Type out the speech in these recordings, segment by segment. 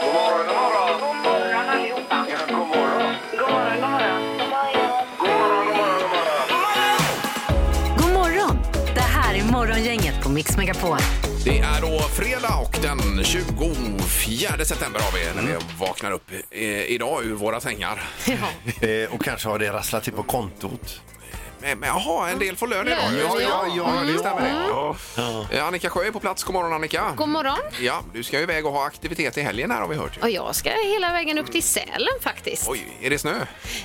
God morgon, god morgon. God morgon allihopa. Ja, god morgon. God morgon, god morgon. God morgon, god morgon, god morgon. God morgon! Det här är Morgongänget på Mix Megapol. Det är då fredag och den 24 september har vi Mm. när vi vaknar upp eh, idag ur våra sängar. Ja. Eh, och kanske har det rasslat till på kontot. Men men jaha, en del får lön idag. Lön, Just det, ja, ja, det stämmer. det. Ja. Eh, Annika Sjö är på plats. God morgon Annika. Mm. God morgon. Ja, du ska ju iväg och ha aktivitet i helgen här har vi hört. Och jag ska hela vägen upp till Sälen faktiskt. Oj, är det snö?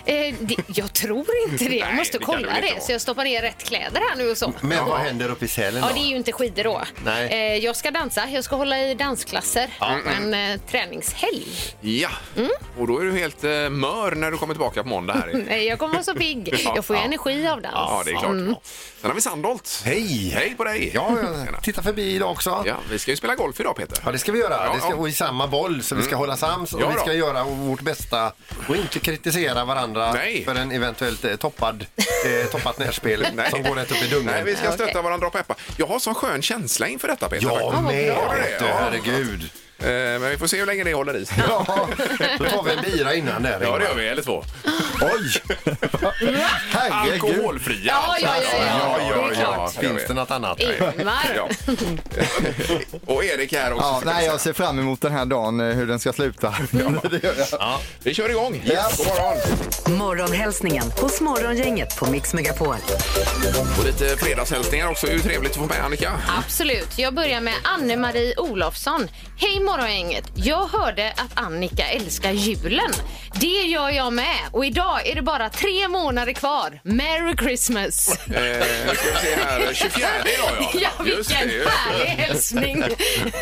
Eh, det, jag tror inte det. Jag Nej, måste det kan kolla det väl inte Mm. det. vara. Så jag stoppar ner rätt kläder här nu och så. Men vad händer uppe i Sälen då? Ja, det är ju inte skidor då. Nej. Eh, jag ska dansa. Jag ska hålla i dansklasser på en eh, träningshelg. Ja, Mm. och då är du helt eh, mör när du kommer tillbaka på måndag här. Eh, jag kommer vara så pigg. Jag får ju energi av dans. Ja, det är klart. Mm. Sen har vi Sandholt. Hej! Hej på dig! Ja, jag tittar förbi idag också. Ja. Ja, vi ska ju spela golf idag Peter. det ska vi göra. Ja, det ja. Mm. ska, och i samma boll, så vi ska hålla sams och Ja vi ska då. göra vårt bästa och inte kritisera varandra Nej. för en eventuellt eh, toppad, eh, toppat närspel Nej. som går rätt upp i dungen. Nej, vi ska Ja, stötta okej. varandra och peppa. Jag har sån skön känsla inför detta Peter. Ja, faktiskt. med! Ja, det är vet du, det. Ja. herregud. Eh, Men vi får se hur länge det håller i sig. Ja, då tar vi en bira innan där. Ja, Ingmar. det gör vi. Eller två. Oj! Herregud. Alkoholfria. Ja, ja, ja, ja. Alltså, Det är klart. jag Finns vet. det något annat? Ingmar. Ja. Och Erik här också. Ja, ska vi nej, säga. jag ser fram emot den här dagen, eh, hur den ska sluta. Det gör jag. Vi kör igång. Yes. God morgon. Morgonhälsningen hos Morgongänget på Mix Megapol. Och lite fredagshälsningar också. Det är ju trevligt att få med Annika. Absolut. Jag börjar med Anne-Marie Olofsson. Hej morgongänget! Jag hörde att Annika älskar julen. Det gör jag med. Och idag är det bara tre månader kvar. Merry Christmas! Eh, nu ska vi se här. 24 idag ja. Ja, vilken härlig hälsning! Oj,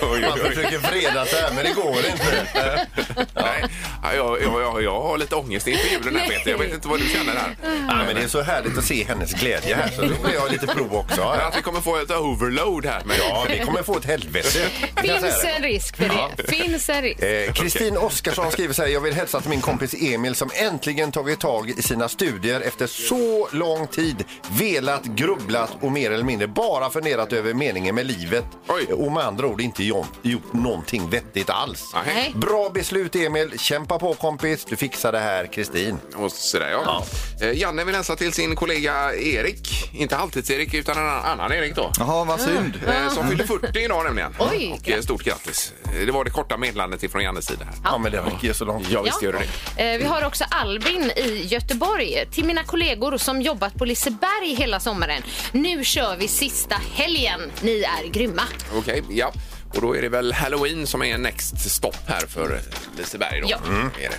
Man oj, oj. försöker freda sig här, men det går inte. Nej, Ja, jag, jag, jag, jag har lite ångest inför julen här Peter. Jag vet inte vad du känner här. Ja, men det är så härligt att se hennes glädje här, så då vill jag lite prov också. Men att vi kommer få ett overload här. Men Ja, vi kommer få ett helvete. kan jag Finns säga en risk för det. Finns en risk. det. Eh, Kristin Oskarsson skriver så här, jag vill hälsa till min kompis Emil som äntligen tagit tag i sina studier efter så lång tid. Velat, grubblat och mer eller mindre bara funderat över meningen med livet. Oj. Och med andra ord inte jo- gjort någonting vettigt alls. Nej. Nej. Bra beslut Emil, kämpa på kompis, du fixar det här Kristin. Och sådär, ja. Eh, Janne vill hälsa till sin kollega Erik. Inte Halvtids-Erik, utan en annan- annan Erik då. Jaha, vad synd. Eh, Som fyllde 40 idag nämligen. Oj, och eh, stort grattis. Eh, Det var det korta meddelandet ifrån Jannes sida. Här. Ja, men det räcker ju så långt. Ja, visst gör det Eh, Vi har också Albin i Göteborg. Till mina kollegor som jobbat på Liseberg hela sommaren. Nu kör vi sista helgen. Ni är grymma. Okej, ja. Och då är det väl Halloween som är next stopp här för Liseberg då. Mm. Ja. Är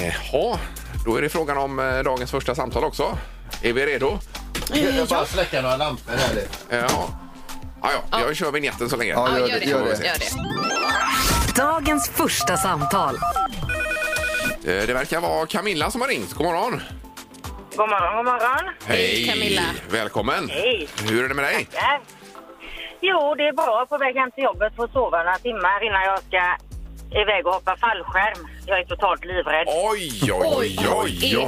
det. Eh, Ja, då är det frågan om eh, dagens första samtal också. Är vi redo? Jag bara släcka några lampor här nu. Eh, Ja. Ah, ja, jag kör vignetten så länge. Ja, Ja, gör gör det, det. gör det. Gör det. Dagens första samtal. Eh, Det verkar vara Camilla som har ringt. God morgon! God morgon, god morgon. Hej, Camilla. Välkommen! Hej. Hur är det med dig? Där. Jo, det är bra. På väg hem till jobbet. Får sova några timmar innan jag ska iväg och hoppa fallskärm. Jag är totalt livrädd. Oj, oj, oj, oj,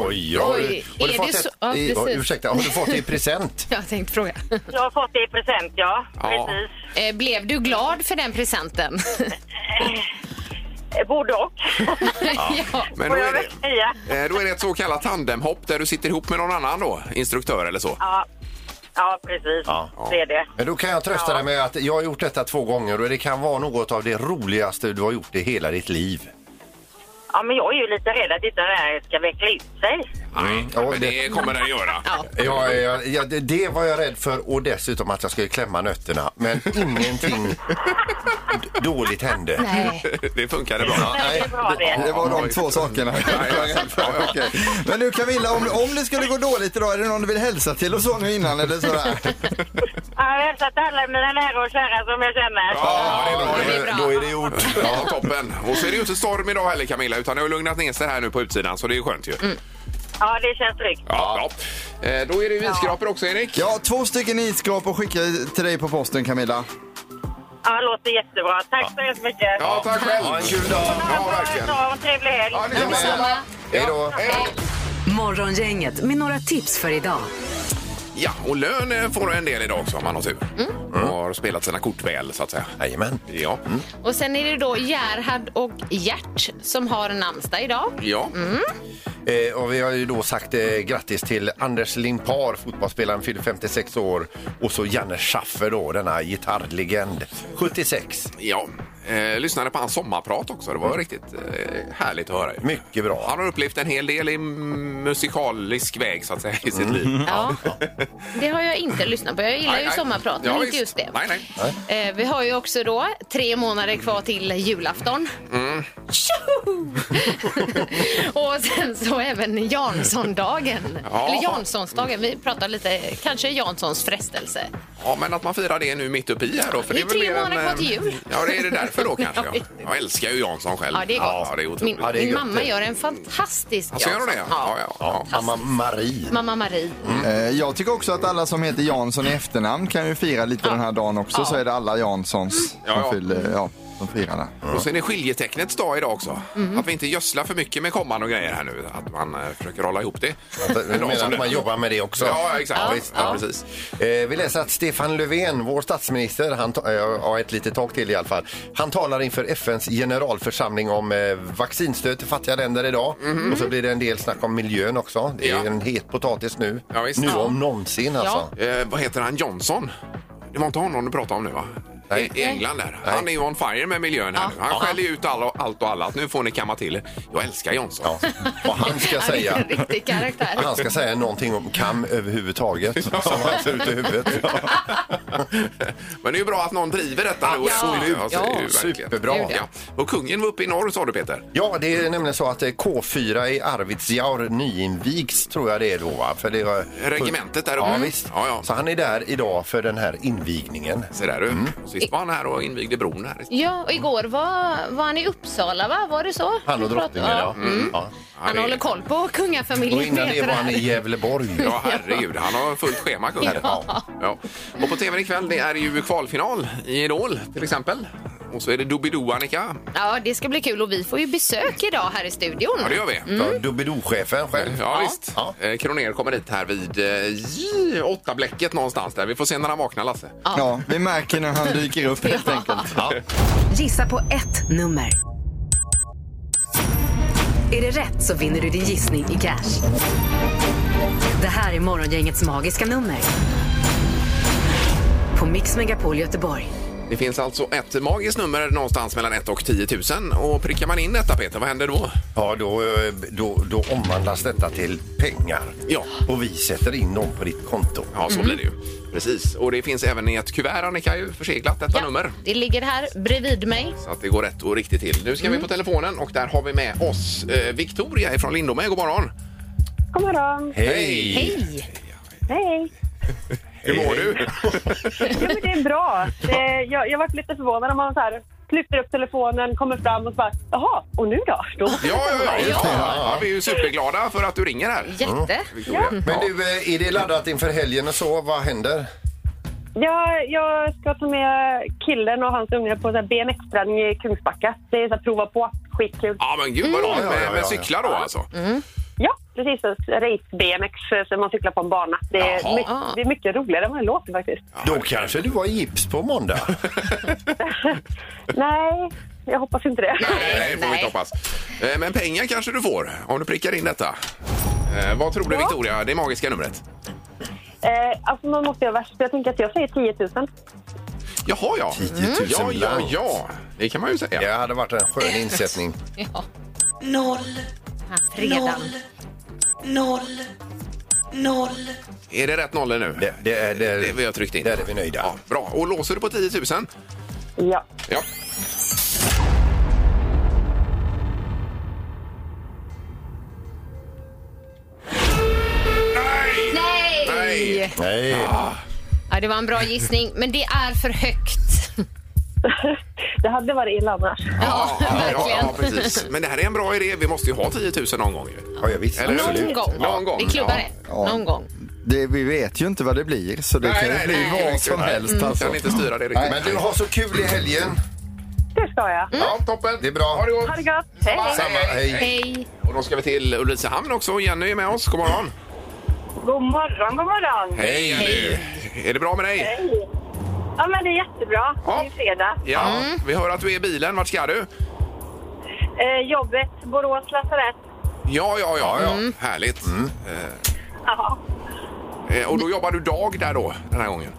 oj, Har du- Oj, har du är fått det ett- så- ja, i- precis. Ursäkta, har du fått det i present? Jag tänkte fråga. Jag har fått det i present, ja. Ja. Precis. Eh, Blev du glad för den presenten? Eh, Både och. ja. Men då Får jag är, väl det, säga. eh, då är det ett så kallat tandemhopp där du sitter ihop med någon annan då, instruktör eller så. Ja. ja, precis. Ja. Det är det. Men då kan jag trösta Ja. dig med att jag har gjort detta två gånger och det kan vara något av det roligaste du har gjort i hela ditt liv. Ja, men jag är ju lite rädd att inte det här ska veckla ut sig. Nej, Ja, men det kommer den göra. Ja, ja, ja, det, det var jag rädd för och dessutom att jag skulle klämma nötterna. Men ingenting d- dåligt hände. Nej. Det funkade bra. Ja, nej. Det är bra det. Det var de två sakerna. Okej. Men du Camilla, om, om det skulle gå dåligt idag, är det någon du vill hälsa till och så nu innan eller sådär? Ja, jag hälsar till alla mina nära och kära som jag känner. Ja, det är bra. det är bra. Då är det gjort. Ja, toppen. Och så är det ju inte storm idag heller Camilla, utan det har lugnat ner sig här nu på utsidan, så det är ju skönt ju. Ja, det känns tryggt. Ja, ja. Eh, Då är det ju isskrapor också, Erik. Ja, två stycken isskrapor skickar jag till dig på posten Camilla. Ja, det låter jättebra. Tack så hemskt mycket. Ja, tack själv. Ha en kul dag. Ja, verkligen. Ha en trevlig helg. Ja, detsamma. Hej då. Hej då. Morgongänget med några tips för idag. Ja, och lön eh, får du en del idag också om man har tur. Och har spelat sina kort väl så att säga. Jajamän. Ja, Och sen är det då Gerhard och Gert som har namnsdag idag. ja. Eh, och vi har ju då sagt eh, grattis till Anders Limpar, fotbollsspelaren, fyller 56 år. Och så Janne Schaffer då, denna gitarrlegend, 76. ja. Eh, lyssnade på hans sommarprat också. Det var riktigt eh, härligt att höra. ju. Mm. Mycket bra. Han har upplevt en hel del i musikalisk väg så att säga i sitt Mm. liv. Ja. Det har jag inte lyssnat på. Jag gillar Nej, ju nej. sommarprat, Ja, men inte visst. just det. Nej, nej. Eh, Vi har ju också då tre månader kvar till julafton. Tjoho! och sen så även Janssondagen. Ja. Eller Janssonsdagen. Vi pratar lite, kanske Janssons frestelse. Ja, men att man firar det nu mitt uppe i här då. För Det är väl tre mer än, månader kvar till eh, jul. Ja, det är det därför då kanske. Ja, ja. Jag älskar ju Jansson själv. Ja, det är gott. Ja, det är otroligt. min Ja, det är min gött mamma det. gör en fantastisk Alltså, gör hon det? Ja, ja, ja. Mamma Marie. Mamma Marie. Eh, Jag tycker också att alla som heter Jansson i efternamn kan ju fira lite den här dagen också. Ja. Så är det alla Janssons som, Ja, ja. Fyller, ja, som firar det. Och sen är skiljetecknets dag idag också. Mm. Att vi inte gödslar för mycket med komman och grejer här nu. Att man eh, försöker hålla ihop det. Du menar att man jobbar med det också? Ja, exakt. Ja, Ja, visst. Ja, ja. precis. Eh, vi läser att Stefan Löfven, vår statsminister, han ta- eh, ja, ett litet tag till i alla fall. Han talar inför FNs generalförsamling om eh, vaccinstöd till fattiga länder idag. Och så blir det en del snack om miljön också. Det är Mhm. Ja. en het potatis nu. Ja, visst. nu Ja. om någonsin alltså. Eh, vad heter han? Johnson? Det var inte honom du pratade om nu va? Nej. I i England där. Han är ju on fire med miljön här nu. Han skäller ju ut all och, allt och alla. Att Nu får ni kamma till er. Jag älskar Johnson. Ja. Vad han ska Ja, det är säga. en riktig karaktär. Han ska säga någonting om kam överhuvudtaget. Som han ser ut i huvudet. Men det är ju bra att någon driver detta nu. och- Absolut. Ja, så är det ju Ja. verkligen. Superbra. Ja. Och kungen var uppe i norr sa du Peter. Ja, det är nämligen så att eh, K4 i Arvidsjaur nyinvigs tror jag det är då. Va? För det var... Regementet där uppe. Ja, visst. Ja, ja. Så han är där idag för den här invigningen. Så där du. Och Sist var han här och invigde bron här. Ja, och igår var, var han i Uppsala, va? Var det så? Han och Vi pratade- drottningen, ja. Mm. ja. Ja, Han det- håller koll på kungafamiljen. Och innan det Mm. Peter var han här. i Gävleborg. Ja, herregud. Han har fullt schema, kungen. Ja. Ja. Och på tv ikväll, det är ju kvalfinal i Idol, till exempel. Och så är det Doobidoo, Annika. Ja, det ska bli kul och vi får ju besök idag här i studion. Ja, det gör vi. Ja, Doobidoo-chefen själv. Ja, visst. Ja. Eh, Kroner kommer hit här vid eh, åtta bläcket någonstans där. Vi får se när han vaknar, Lasse. Ja, vi märker när han dyker upp helt enkelt. Gissa på ett nummer. Är det rätt så vinner du din gissning i cash. Det här är Morgongängets magiska nummer. På Mix Megapol Göteborg. Det finns alltså ett magiskt nummer någonstans mellan 1 och 10 000. Och prickar man in detta, Peter, vad händer då? Ja, då, eh, då, då omvandlas detta till pengar. Ja. Och vi sätter in dem på ditt konto. Ja, så blir det ju. Precis. Och det finns även i ett kuvert, Annika, ju förseglat detta Ja, nummer. Det ligger här bredvid mig. Så att det går rätt och riktigt till. Nu ska Mm. vi på telefonen och där har vi med oss eh, Victoria ifrån Lindome. God morgon! God morgon. Hej! Hej! Hej. Hur mår du? Jo, men det är bra. Det, jag, jag varit lite förvånad om man så här lyfter upp telefonen, kommer fram och så bara jaha, och nu då? då? Ja, ja, ja, just det. Ja. ja. Vi är ju superglada för att du ringer här. Jätte! Victoria. Men du, eh, är det laddat inför helgen och så? Vad händer? Jag, jag ska ta med killen och hans unge på så här BMX-träning i Kungsbacka. Det är så här, prova på. Skitkul. Ja, men gud vad roligt Ja, ja, Mm. ja, med, med ja. cyklar då alltså. Ja, precis. så Race-BMX som man cyklar på en bana. Det Jaha. är, mycket, det är mycket roligare än vad det låter faktiskt. Då kanske du var i gips på måndag? Nej, jag hoppas inte det. Nej, nej, får vi nej. inte hoppas. Eh, Men pengar kanske du får om du prickar in detta. Eh, vad tror du Ja. Victoria, det magiska numret? Eh, alltså man måste göra värst. Jag tänker att jag säger 10 000. Jaha ja. 10 000 Ja, ja, blankt. ja. Det kan man ju säga. Det hade varit en skön insättning. Ja, noll, här fredagen. noll, noll. Är det rätt nollor nu? Det, det, är- det, Det vi har tryckt in. Där är vi nöjda. Ja, bra. Och låser du på 10 000? Ja. Ja. Nej! Nej. Nej. Ja, det var en bra gissning, men det är för högt. det hade varit illa annars. Ja, verkligen. ja, precis. Men det här är en bra idé. Vi måste ju ha 10 000 någon gång. ju. Ja, jag visst. Eller hur? Någon gång. Någon gång. Vi klubbar Ja. det. Någon gång. Det, vi vet ju inte vad det blir, så det Nej, kan ju nej, bli nej, vad nej, som nej. helst. Mm. Alltså. Kan inte styra det riktigt. Men du har så kul i helgen. Det ska jag. Ja, toppen. Det är bra. Ha det gott. Ha det gott. Hej. Samma, hej. Hej! Och då ska vi till Ulricehamn också. Jenny är med oss. God morgon. God morgon, god morgon. Hej Jenny! Är det bra med dig? Hej. Ja, men det är jättebra. Ja. Det är fredag. Ja, vi hör att du är i bilen. Vart ska du? Eh, jobbet, Borås lasarett. Ja, ja, ja. ja. Härligt. Ja. Eh, Och då jobbar du dag där då, den här gången?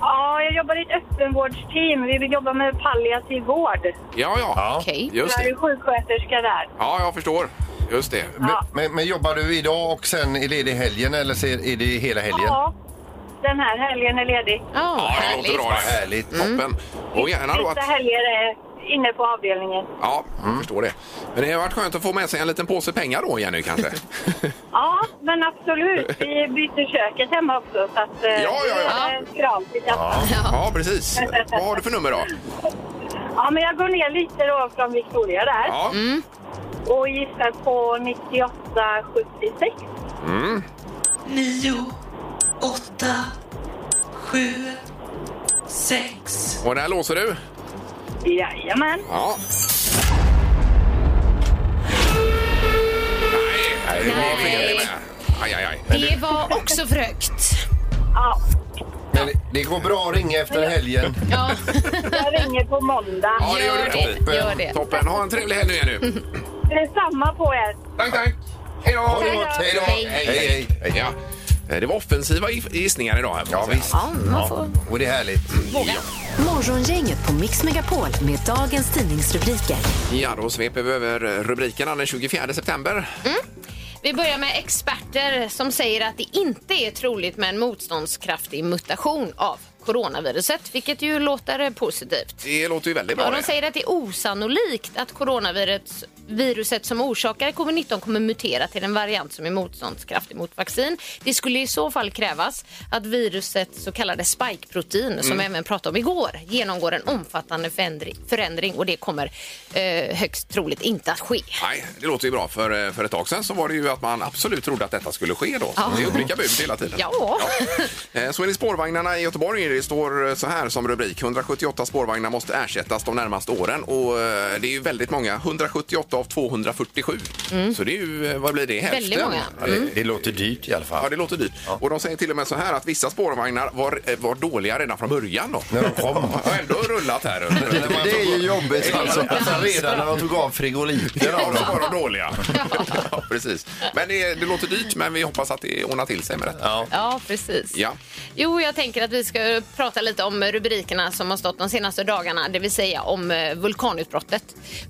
ja, jag jobbar i ett öppenvårdsteam. Vi vill jobba med palliativ vård. Ja, ja. Okej. Just Jag det. är sjuksköterska där. Ja, jag förstår. Just det. Men, men, men jobbar du idag och sen är ledig helgen eller så är är det hela helgen? Ja, den här helgen är ledig. Ja, Ja, det härligt. låter bra. det. Härligt. Toppen. Och gärna då Vissa att... helger är inne på avdelningen. Ja, jag förstår det. Men det har varit skönt att få med sig en liten påse pengar då, Jenny, kanske? Ja, men absolut. Vi byter köket hemma också. Så att, eh, Ja, ja, ja. det är en Kram till ja. Ja, precis. Vad har du för nummer då? ja, men jag går ner lite då från Victoria där Ja, och gissar på 9876. 9, 8, 7, 6. och där låser du? Jajamän. Ja. Nej, nej, det var fel med. Aj, aj, aj. Det var också för högt. Ja, Men det- det går bra att ringa efter helgen. Ja, jag ringer på måndag. Ja, det gör gör du. det. Gör det. Toppen. Ha en trevlig helg nu, Jenny. Det är samma på er. Tack, tack. Hej då. Ha det gott. Hej då. Hej. Hej, hej. Ja. eh, Det var offensiva gif- gissningar idag. Här, får Ja, jag säga. visst. Ja, man får Och det är härligt. våga. Morgongänget på Mix Megapol med dagens tidningsrubriker. ja, då sveper vi över rubrikerna den 24 september. Mm. Vi börjar med experter som säger att det inte är troligt med en motståndskraftig mutation av coronaviruset, vilket ju låter positivt. Det låter ju väldigt bra. Ja, de det. säger att det är osannolikt att coronaviruset viruset som orsakar covid-19 kommer mutera till en variant som är motståndskraftig mot vaccin. Det skulle i så fall krävas att viruset så kallade spike-protein som vi även pratade om igår genomgår en omfattande förändring, förändring och det kommer eh, högst troligt inte att ske. Nej, det låter ju bra. För, för ett tag sedan så var det ju att man absolut trodde att detta skulle ske då. Ja. Det är ju olika bud hela tiden. Ja. Eh, Så är det spårvagnarna i Göteborg. Det står eh, så här som rubrik. 178 spårvagnar måste ersättas de närmaste åren. Och eh, det är ju väldigt många. 178 av 247. Så det är ju, eh, vad blir det? Hälften? Mm. Väldigt många. Ja, det- Det låter dyrt i alla Ja, fall. det låter dyrt. Och de säger till och med så här att vissa spårvagnar var, eh, var dåliga redan från början då. När de kom. Har ändå rullat här. under- Det är ju jobbigt alltså. Alltså redan när de tog av frigoliten Ja, av så dem. var de dåliga. ja, precis. Men det, det låter dyrt, men vi hoppas att det ordnar till sig med detta. Ja. Ja, precis. Ja. Jo, jag tänker att vi ska prata lite om rubrikerna som har stått de senaste dagarna, det vill säga om eh, vulkanutbrottet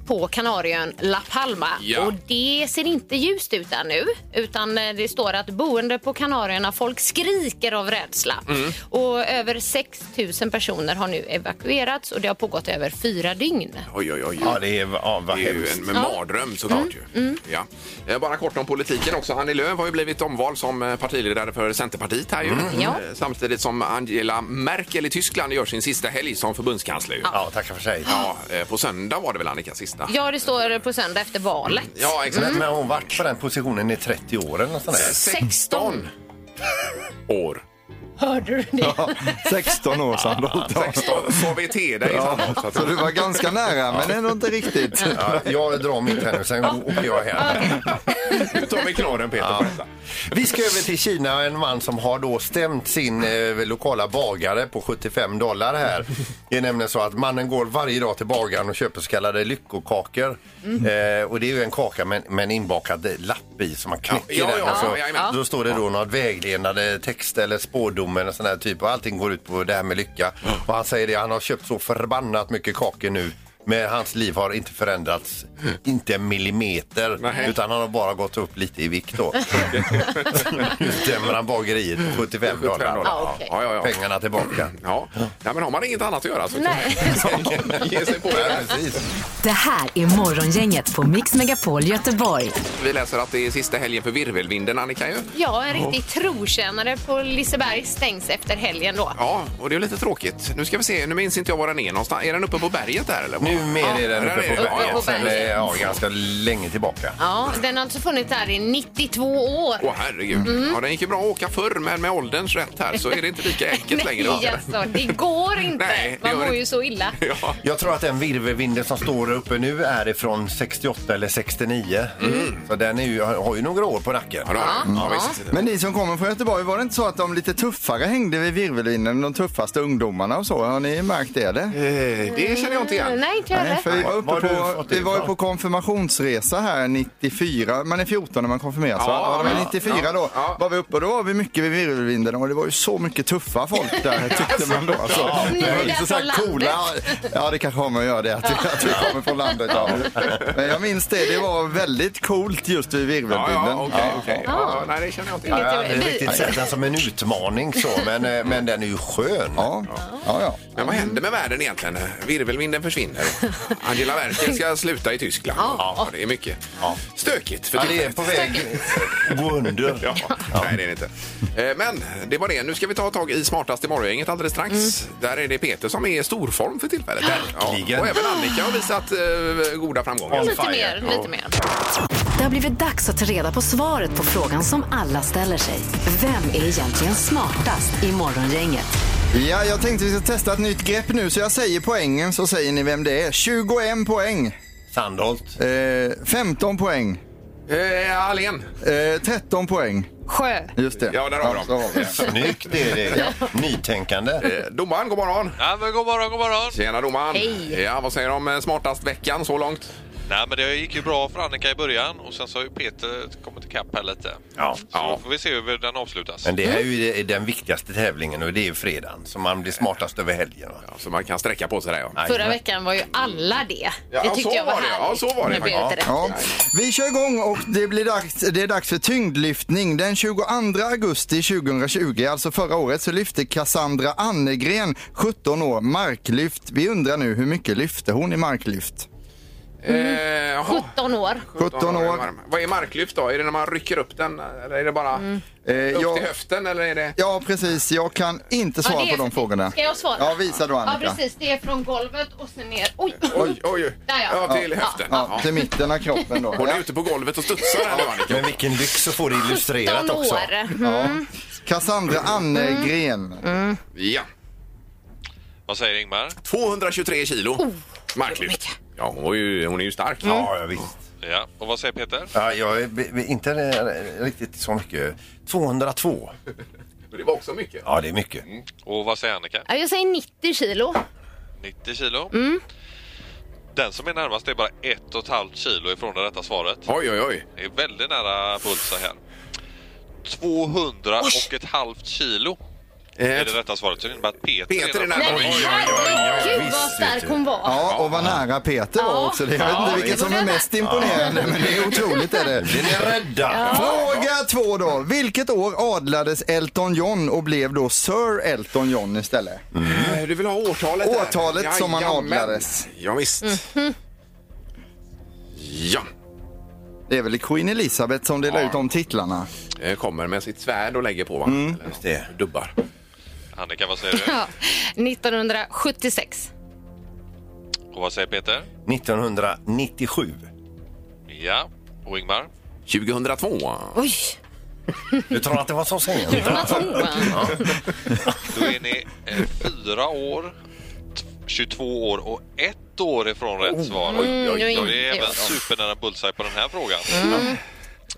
på Kanarieön La Palma. Ja. Och det ser inte ljust ut där nu, utan eh, det står att boende på Kanarieöarna, folk skriker av rädsla. Mm. Och över 6 000 personer har nu evakuerats och det har pågått över fyra dygn. Oj, oj, oj. Ja, det är, ja, vad Det är ju hemskt. en mardröm såklart. ju. Ja. Eh, Bara kort om politiken också. Annie Lööf har ju blivit omvald som eh, partiledare för Centerpartiet här ju. Ja. Eh, Samtidigt som Angela Merkel i Tyskland gör sin sista helg som förbundskansler. ju. Ja, tackar för sig. Ja, eh, på söndag var det väl Annika sista? Ja, det står på söndag efter valet. Ja, exakt. Men har hon varit på den positionen i 30 år eller något sånt där? 16 år. Hörde du det? 16 år sedan du hållit på. 16 får vi te dig ja. så att Så du var ganska nära men ändå inte riktigt. Ja, jag drar mitt här nu, sen åker jag hem. Nu tar vi knorren Peter på detta. Vi ska över till Kina. En man som har då stämt sin eh, lokala bagare på 75 dollar här. Det är nämligen så att mannen går varje dag till bagaren och köper så kallade lyckokakor. Mhm. Eh, och det är ju en kaka med, med en inbakad lapp i som man knäcker Ja, ja, den. ja, alltså, ja, jajamän. Då står det då någon vägledande text eller spårdom eller sån här typ. Och allting går ut på det här med lycka. Och han säger det, han har köpt så förbannat mycket kakor nu. Men hans liv har inte förändrats, inte en millimeter. Nej. Utan han har bara gått upp lite i vikt då. Nu stämmer han bageriet på 75 75 dollar. dollar. Ja, okej. ja, ja, ja. Pengarna tillbaka. Ja. ja, men har man inget annat att göra så kan Nej. man ge sig på Ja, det. precis. Det här är Morgongänget på Mix Megapol Göteborg. Vi läser att det är sista helgen för virvelvinden, Annika. Ju. Ja, en riktig trotjänare på Liseberg stängs efter helgen då. Ja, och det är lite tråkigt. Nu ska vi se, nu minns inte jag var den är någonstans. Är den uppe på berget där eller? Var? Numera är den där uppe är på den. berget. Uppe på Sen, berget. eh, ja, ganska länge tillbaka. Ja, den har alltså funnits här i 92 år. Åh herregud. Ja, den gick ju bra att åka förr, men med ålderns rätt här så är det inte lika enkelt längre. Nej, alltså, det går inte. Nej, det Man gör mår det ju inte. så illa. Ja. Jag tror att den virvelvinden som står uppe nu är ifrån 68 eller 69. Så den är ju, har har ju några år på nacken. Mm. Mm. Ja, då har den. ja, Ja. visst. Men ni som kommer från Göteborg, var det inte så att de lite tuffare hängde vid virvelvinden, de tuffaste ungdomarna och så? Har ni märkt det? Eller? Eh, Det känner jag inte igen. Nej, inte jag Nej, för heller. vi var, Var har uppe du på, fått det vi var ju ifrån? på konfirmationsresa här 94. Man är 14 när man konfirmeras va? Ja, Ja, det ja, var 94 ja, då. ja. Var vi uppe och då var vi mycket vid virvelvinden och det var ju så mycket tuffa folk där tyckte man då. Alltså. Ni Det är var där lite från så här coola. Ja det kanske har med att göra det att vi, att vi kommer från landet. Ja. Men jag minns det, det var väldigt coolt just vid Ja, virvelvinden. ja, okej, okej. Ja, nej, det känner jag inte Ja, igen. Jag har aldrig riktigt sett den som en utmaning så, men, eh, men den är ju skön. Ja, ja, ja. Men vad händer med världen egentligen? Virvelvinden försvinner. Angela Merkel ska sluta i Tyskland. Ja, det är mycket stökigt för Ja, det är tillfället. på väg. Wunder. Ja, nej det är det inte. Eh, Men det var det. Nu ska vi ta tag i smartast i morgongänget alldeles strax. Där är det Peter som är i storform för tillfället. Verkligen. Och även Annika har visat eh, goda framgångar. Lite fire. mer, lite mer. Det har blivit dags att ta reda på svaret på frågan som alla ställer sig. Vem är egentligen smartast i morgongänget? Ja, jag tänkte vi ska testa ett nytt grepp nu så jag säger poängen så säger ni vem det är. 21 poäng. Sandholt. Eh, 15 poäng. Eh, Alén. Eh, 13 poäng. Sjö. Just det. Ja, där har vi dem. så vi det. Snyggt Erik. Nytänkande. Eh, Domaren, god morgon. Ja, men god morgon, god morgon. Tjena domaren. Hej. Ja, vad säger du om eh, smartast-veckan så långt? Nej, men det gick ju bra för Annika i början och sen så har ju Peter kommit ikapp här lite. Ja. Så då får vi se hur den avslutas. Men det här är ju det- den viktigaste tävlingen och det är ju fredagen. Så man blir smartast över helgen. Va? Ja, så man kan sträcka på sig där ja. Förra veckan var ju alla det. Ja, Det tyckte så jag var var det. Ja, härligt. så var det Nu blev faktiskt. inte rätt. Ja. Vi kör igång och det, blir dags, det är dags för tyngdlyftning. Den 22 augusti 2020, alltså förra året, så lyfte Cassandra Annegren, 17 år, marklyft. Vi undrar nu hur mycket lyfte hon i marklyft? Eh, jaha. 17 år. 17 år. Vad är marklyft då? Är det när man rycker upp den eller är det bara Eh, upp jag- till höften eller är det? Ja, precis. Jag kan inte svara Ja, det är- på de frågorna. Ska jag svara? Ja, visa då Annika. Ja, precis. Det är från golvet och sen ner. Oj! Oj, oj, oj. Där, ja. Ja, till Ja. höften. Ja, till mitten av kroppen då. Hon är ute på golvet och studsar här nu Annika. Men vilken lyx att få det illustrerat 17 också. år. Cassandra Mm. Annegren. Ja. Vad säger Ingmar? 223 kilo Oh, marklyft. Ja, hon, var ju, hon är ju stark. Mm. Ja, ja, visst. Ja. Och vad säger Peter? Ja, jag är b- b- inte eh, riktigt så mycket. 202. Men Det var också mycket. Ja, det är mycket. Och vad säger Annika? Ja, jag säger 90 kilo. 90 kilo. Den som är närmast är bara ett och ett halvt kilo ifrån det rätta svaret. Oj, oj, oj. Det är väldigt nära pulsen här. 200 och ett halvt kilo är det rätta svaret. Så det innebär att Eh, Peter, Peter är Nej, närmast. men Oj, oj, herregud vad Visst, stark vet du. hon var. Ja, och vad nära Peter var Ja. också. Det- Jag vet inte vilket det- som är mest imponerande, men det är otroligt. Är det. Blir ni rädda? Fråga två då. Vilket år adlades Elton John och blev då Sir Elton John istället? oj. Eh, Du vill ha årtalet där. Årtalet som han adlades. Ja, visst. Mhm. Ja, Det är väl Queen Elizabeth som delar ut de titlarna. Eh, kommer med sitt svärd och lägger på va? Eller något. det. Dubbar. Annika, vad säger du? Ja. 1976. Och vad säger Peter? 1997. Ja. Och Ingmar? 2002. Oj! Du tror att det var så sent? vad tror jag? Då är ni eh, fyra år, t- 22 år och ett år Oh. ifrån rätt svar. Mm, oj, oj. Och det är Oj, även oj. supernära bullseye på den här frågan. Mm.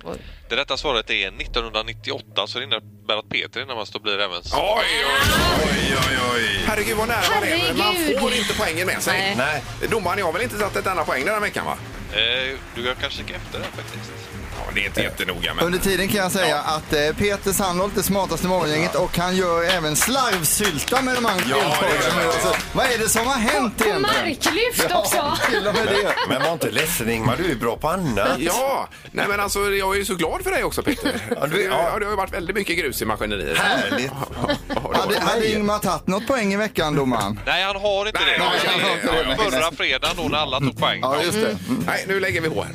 Oj. Det rätta svaret är 1998 så det innebär att Peter är närmast och blir även Oj, oj, oj, oj, oj. Herregud vad nära man är. Man Herregud. får inte poängen med sig. Nej. Nej. Domaren, jag har väl inte satt ett enda poäng den här veckan va? Eh, du kan kanske kika efter den faktiskt. Ja, det är inte jättenoga men... Under tiden kan jag säga att eh, Peter Sandholt är smartast i morgongänget och han gör även slarvsylta med de andra Ja, det gör deltagarna. han. Alltså, Vad är det som har hänt På egentligen? marklyft också! Till och med det. Men var inte ledsen Ingmar, du är bra på annat. Ja, nej men alltså jag är ju så glad för dig också Peter. Ja, du- ja. ja, det har ju varit väldigt mycket grus i maskineriet. Härligt. Ja, det har Hade, det. hade Ingmar tagit något poäng i veckan, domaren? Nej, han har inte Nej, det. nej, han har inte det, nej. Förra fredagen då när alla tog poäng. Ja, just det. Nej, nu lägger vi på här.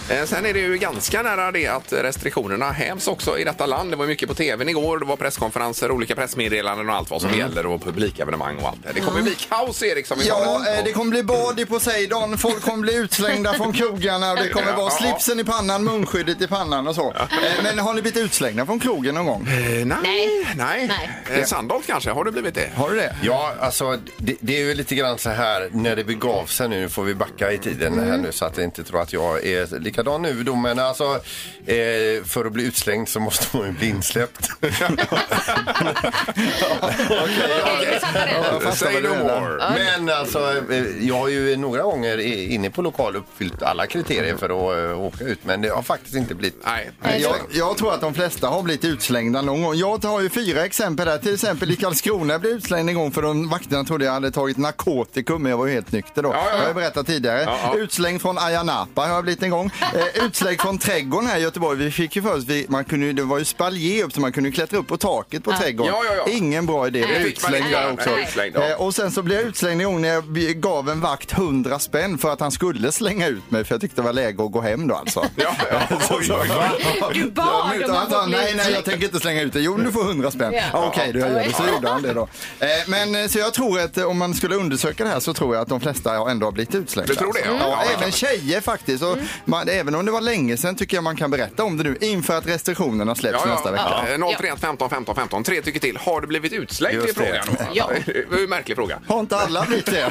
Eh, Sen är det ju ganska nära det att restriktionerna hävs också i detta land. Det var mycket på tvn igår. Det var presskonferenser, olika pressmeddelanden och allt vad som gäller och publikevenemang och allt. Det kommer bli kaos, Erik, som vi Mm. Ja, talar om. eh, det kommer bli bad i Poseidon, folk kommer bli utslängda från krogarna och det kommer vara slipsen i pannan, munskyddet i pannan och så. Eh, Men har ni blivit utslängda från krogen någon gång? Eh, Nej, Nej. nej. Nej. Eh, Sandholt kanske, har du blivit det? Har du det? Ja, alltså det, det är ju lite grann så här när det begav sig nu, får vi backa i tiden här nu så att jag inte tror att jag är likadan nu då, men alltså eh, för att bli utslängd så måste man ju bli insläppt. Okej, vi fattar det. Jag fattar Say vad no du menar. more. Men alltså, eh, jag har ju några gånger i- inne på lokal uppfyllt alla kriterier för att eh, åka ut, men det har faktiskt inte blivit. Nej. Jag, jag tror att de flesta har blivit utslängda någon gång. Jag har ju fyra exempel där. Till exempel i Karlskrona blev jag utslängd en gång för de vakterna trodde jag hade tagit narkotikum, men jag var ju helt nykter då. Ja, ja, ja. Jag har ju berättat tidigare. Ja, ja. Utslängd från Ayia Napa har jag blivit en gång. Eh, utslängd från trädgården här i Göteborg. Vi fick ju först, vi, man kunde, ju- det var ju spaljer upp så man kunde ju klättra upp på taket på trädgården. Ja, ja, ja. Ingen bra idé. Det Blev fick man utslängd inte där göra. också. Nej, utslängd, ja. Eh, och sen så blev jag utslängd en gång när jag gav en vakt 100 spänn för att han skulle slänga ut mig för jag tyckte det var läge att gå hem då alltså. Ja, ja. Oj, oj, oj. Du Ja, bad men om utan att att få han, bli nej, nej, jag utslängd. tänker inte slänga ut det. Jo, men du får 100 spänn. Ja. Ah, Okej, då jag gör det. Så gjorde han det då. Eh, men eh, så jag tror att eh, om man skulle undersöka det här så tror jag att de flesta har ändå har blivit utslängda. Du tror det, ja. alltså. Mm. Ja, Ja, det kan även tjejer faktiskt. Mm. Och man, även om det var länge sedan tycker jag man kan berätta om det nu inför att restriktionerna släpps Ja, nästa vecka. ja. Eh, 031 15 15 15. Tre tycker till. Har du blivit utslängd? i Just det. frågan. Ja. Det var ju en märklig fråga. Har inte alla blivit det?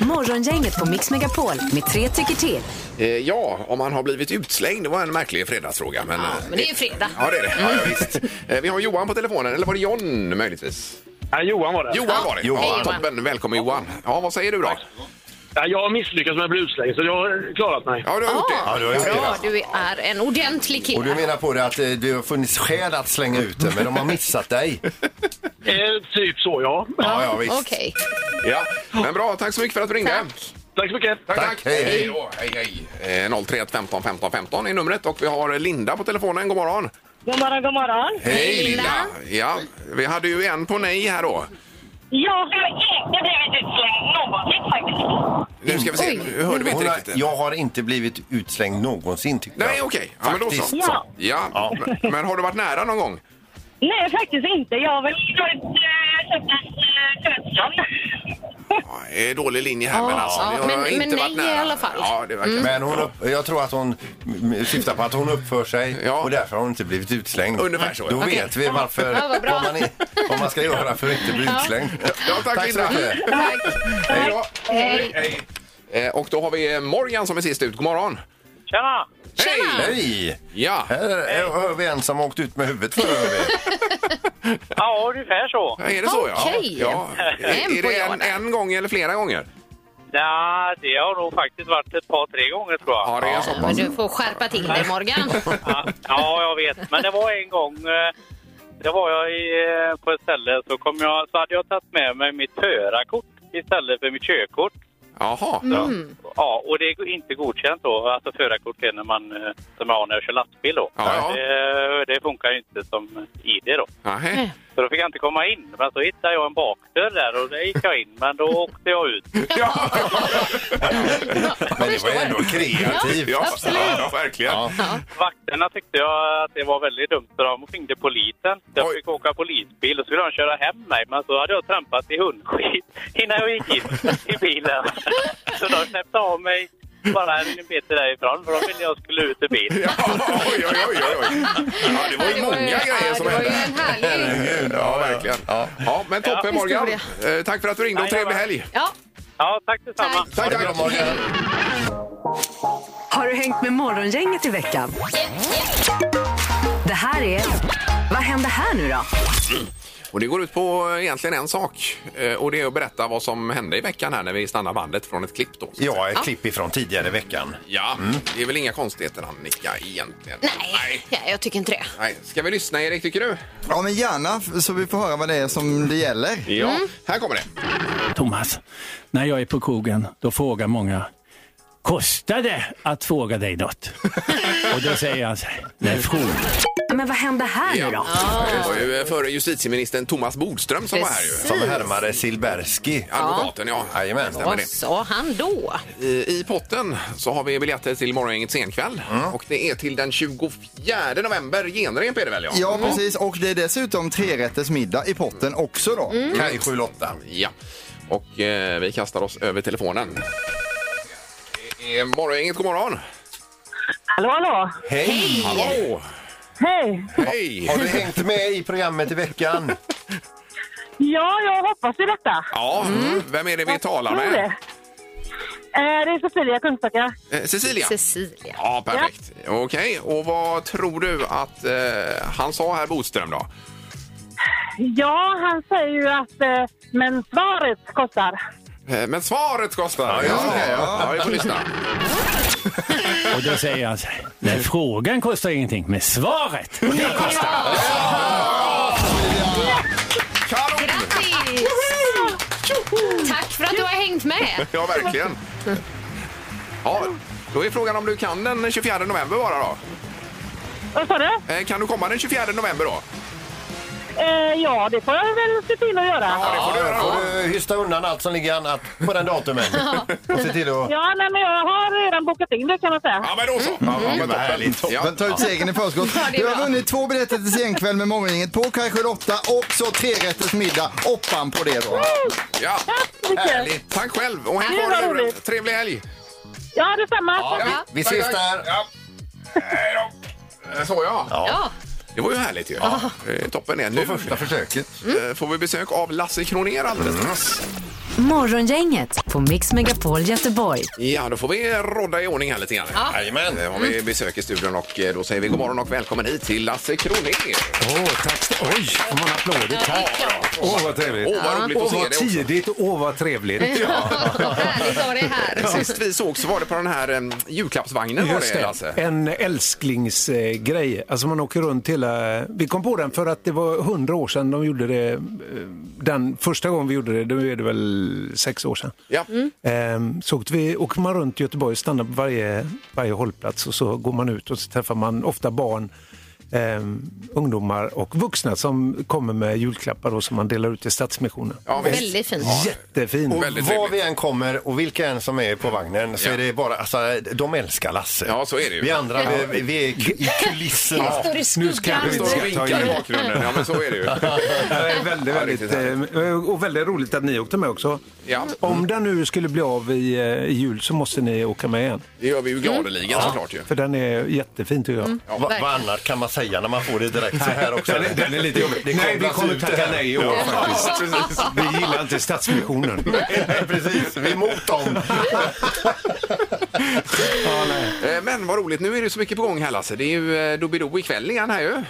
Morgongänget på Mix Megapol med tre tycker till. Eh, ja, om man har blivit utslängd. Det var en märklig fredagsfråga. Men, ja, men det är ju fredag. Ja, det är det. Ja, ja, visst. Eh, Vi har Johan på telefonen, eller var det John möjligtvis? Ja, Johan var det. Johan var det. Johan. Ja, Hej, Johan. toppen. Välkommen Johan. Ja, vad säger du då? Ja, jag har misslyckats med att bli utslängd, så jag har klarat mig. Ja, du har gjort Ah. det. Ja, du har gjort det. Bra, du är en ordentlig Och du kille. menar på det att eh, det har funnits skäl att slänga ut det, men de har missat dig? Eh, typ så, ja. Ja, ja, visst. Okej. Ja. Men bra, tack så mycket för att du ringde. Tack. Tack så mycket. Tack, Tack, tack. hej, hej. då, hej, hej. Eh, 031 15 15 15 är numret och vi har Linda på telefonen. God morgon. God morgon, god morgon. Hej, Linda. Ja, vi hade ju en på nej här då. Jag har inte blivit utslängd någonsin faktiskt. Nu ska vi se, Oj. nu hörde vi inte Hon har, riktigt. jag har inte blivit utslängd någonsin tycker jag. Nej, okej. Ja, men då så. Faktiskt. Ja. Ja, men- men har du varit nära någon gång? Nej, faktiskt inte. Jag har väl varit eh, skötsam. Ja, det är dålig linje här, Ja, men alltså. ja, det har men- jag inte men varit nej i nära. alla fall. Mm. Ja, det verkar Men hon upp, jag tror att hon mm, syftar på att hon uppför sig Ja. och därför har hon inte blivit utslängd. Ungefär så, ja. Då Okej. vet vi varför, Ja, vad bra. vad, man, i- vad man ska göra för att inte bli Ja. utslängd. Ja, tack, tack så Linda. mycket. Tack. Hej då. Hej. Eh, Och då har vi Morgan som är sist ut. God morgon! Tjena! Tjena. Hej! Ja, Här är- hör vi en som har åkt ut med huvudet förra övrigt. Ja, ungefär så. är det så? Ja. Okej. ja. En Är på det en, Jordan. en gång eller flera gånger? Ja, det har nog faktiskt varit ett par, tre gånger tror jag. Ja, det är så Men pass. du får skärpa till dig, Morgan. Ja, ja, jag vet. Men det var en gång. eh, Det var jag i, eh, på ett ställe så, kom jag, så hade jag tagit med mig mitt förarkort istället för mitt körkort. Jaha. Mm. Mm. Ja, och det är go- inte godkänt då. Alltså förarkort är när man, eh, som jag har när jag kör lastbil då. Ja, ja. Det, det funkar ju inte som ID då. Mm. Nähä. Så då fick jag inte komma in. Men så hittade jag en bakdörr där och där gick jag in. Men då åkte jag ut. Ja, Men det var ändå kreativt. ja, ja, verkligen. Ja. Vakterna tyckte jag att det var väldigt dumt så de ringde polisen. Jag Oj. fick åka polisbil och skulle de köra hem mig men så hade jag trampat i hundskit innan jag gick in i bilen. Så de släppte av mig bara en meter därifrån för de ville jag skulle ut ur bilen. Ja, oj, oj, oj, oj. Ja, det var ju många grejer som ja, Det var ju hände. en härlig... Ja, verkligen. Ja. men toppen Morgan. Eh, Tack för att du ringde och trevlig helg. Ja, Ja, tack detsamma. tack. Tack, Ha det bra, tack. Morgan. Har du hängt med Morgongänget i veckan? Det här är... Vad händer här nu då? Och det går ut på egentligen en sak. Eh, Och det är att berätta vad som hände i veckan här när vi stannar bandet från ett klipp då. Ja, ett klipp ifrån tidigare i veckan. Ja, det är väl inga konstigheter Annika egentligen. Nej, ja, jag tycker inte det. Nej. Ska vi lyssna Erik tycker du? Ja, men gärna f- så vi får höra vad det är som det gäller. Ja. Mm. Här kommer det. Thomas, när jag är på krogen då frågar många Kostar det att fråga dig något? Och då säger han så här, nej fråga. Men vad hände här nu då? Det var ju eh, före justitieministern Thomas Bodström som var här ju. Precis. Som härmare Silberski. Advokaten, ja. Jajamän. Stämmer Vad det. sa han då? I, I potten så har vi biljetter till Morgongängets scenkväll och det är till den 24 november. Genrep är det väl? Ja. Ja, precis. Och det är dessutom trerättersmiddag i potten också då. Mm. Kaj 7-8. Ja. Och eh, vi kastar oss över telefonen. Det är Morgongänget, god morgon! Hallå, hallå! Hej! Hallå! Hej! Hej! Har du hängt med i programmet i veckan? Ja, jag hoppas ju detta. Ja, vem är det vi talar Tror med? det. Eh, det är Cecilia Kungsbacka. Eh, Cecilia? Cecilia. Ja, perfekt. Okej, och vad tror du att eh, han sa här, Bodström då? Ja, han säger ju att eh, men svaret kostar. Eh, Men svaret kostar! Ja, just det. Ja, vi får lyssna. Och då säger han så här, nej frågan kostar ingenting, men svaret, det kostar. Kanon! Grattis! Tack för att du har hängt med. Ja, verkligen. Ja, då är frågan om du kan den 24 november bara då? Vad sa du? Eh, Kan du komma den 24 november då? Eh, ja, det får jag väl se till att göra. Ja, det får du göra Får då. du hysta undan allt som ligger annat på den datumen? Och se till att... Ja, nej, men jag har redan bokat in det kan man säga. Ja, men då så. Mm. Ja, men toppen. härligt. Ja. Men ta ut segern i förskott. det är Du har bra. vunnit två biljetter till scenkväll med Morgongänget på Kaj 8 och så trerättersmiddag. Oppan på det då. Mm. Ja. Tack så mycket. Härligt. Tack själv och häng Ja, kvar vad nu. roligt. Trevlig helg! Ja, detsamma. Ja, vi, vi ses där. Ja. Hej då. Eh, Så ja. Ja, Det var ju härligt ju. Eh, Toppen är nu. Första försöket. Eh, Får vi besök av Lasse Kronér alldeles strax. Morgongänget på Mix Megapol Göteborg. Ja, då får vi rodda i ordning här lite grann. Jajamän. Eh, Har vi Mm. besök i studion och eh, då säger vi god morgon och välkommen hit till Lasse Kronér. Åh, tack så Oj, vad många applåder. Tack. Åh, vad trevligt. Åh, vad roligt att Åh, se vad dig också. tidigt och åh, vad trevligt. härligt att ha dig här. Sist vi såg så var det på den här eh, julklappsvagnen var Just det, alltså. Lasse. det. En älsklingsgrej. Alltså man åker runt hela... Vi kom på den för att det var hundra år sedan de gjorde det. eh, Den första gången vi gjorde det, då är det väl sex år sedan. Ja. Ehm, Så åkte vi, åker man runt i Göteborg och stannar på varje, varje hållplats och så går man ut och så träffar man ofta barn, ehm, ungdomar och vuxna som kommer med julklappar och som man delar ut till Stadsmissionen. Ja, visst. Väldigt fint. Jättefint. Och väldigt Var trevligt. vi än kommer och vilka än som är på vagnen så Ja. är det bara, alltså de älskar Lasse. Ja, så är det ju. Vi andra, vi, vi är ku- i kulisserna. Står i skuggan. Står och vinkar i bakgrunden. Ja, men så är det ju. Det är väldigt, Ja, riktigt väldigt, eh, och väldigt roligt att ni åkte med också. Ja. Om den nu skulle bli av i, eh, i jul så måste ni åka med igen. Det gör vi Mm. ju gladeligen såklart ju. För den är jättefin tycker jag. Ja, vad, vad annat kan man säga när man får det direkt så här också? Mm. är lite jobbig. Det Nej, vi kablas kommer ut det tacka här. nej i år faktiskt. Vi gillar inte Stadsmissionen. Nej, precis. Vi är emot dem. Eh, Men vad roligt, nu är det så mycket på gång här Lasse. Det är ju eh, Doobidoo ikväll igen här ju. eh,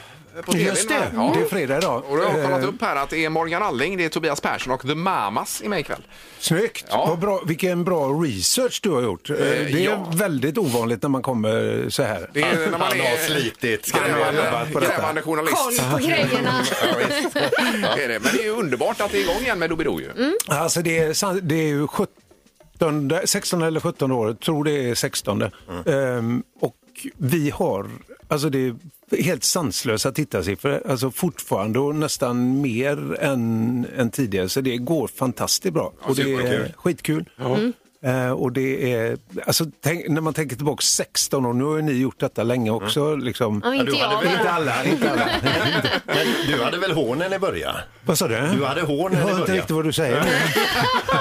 På TV:n. Just det, Ja. det är fredag idag. Och då har jag kollat Eh, upp här att det är Morgan Alling, det är Tobias Persson och The Mamas i mig ikväll. Snyggt! Ja. Vad bra, vilken bra research du har gjort. Eh, det är ja. väldigt ovanligt när man kommer så här. Det är när man Han har är slitit. ska det Han har vara. jobbat på detta. grävande journalist. Koll på grejerna. Det är det. Men det är ju underbart att det är igång igen med Doobidoo ju. Alltså det är, san- det är ju 17, 16 eller 17 året, tror det är 16. Mm. Ehm, och vi har, alltså det är helt sanslösa tittarsiffror, alltså fortfarande och nästan mer än, än tidigare. Så det går fantastiskt bra och det superkul. är skitkul. Mm. Eh, och det är, alltså, tänk, när man tänker tillbaka 16 år, nu har ju ni gjort detta länge Mm. också. Liksom. Ja, inte du hade jag väl Inte men. alla, inte alla. Men du hade väl hån när ni började? Vad sa du? Du hade hån när Jag hör ni inte började. riktigt vad du säger.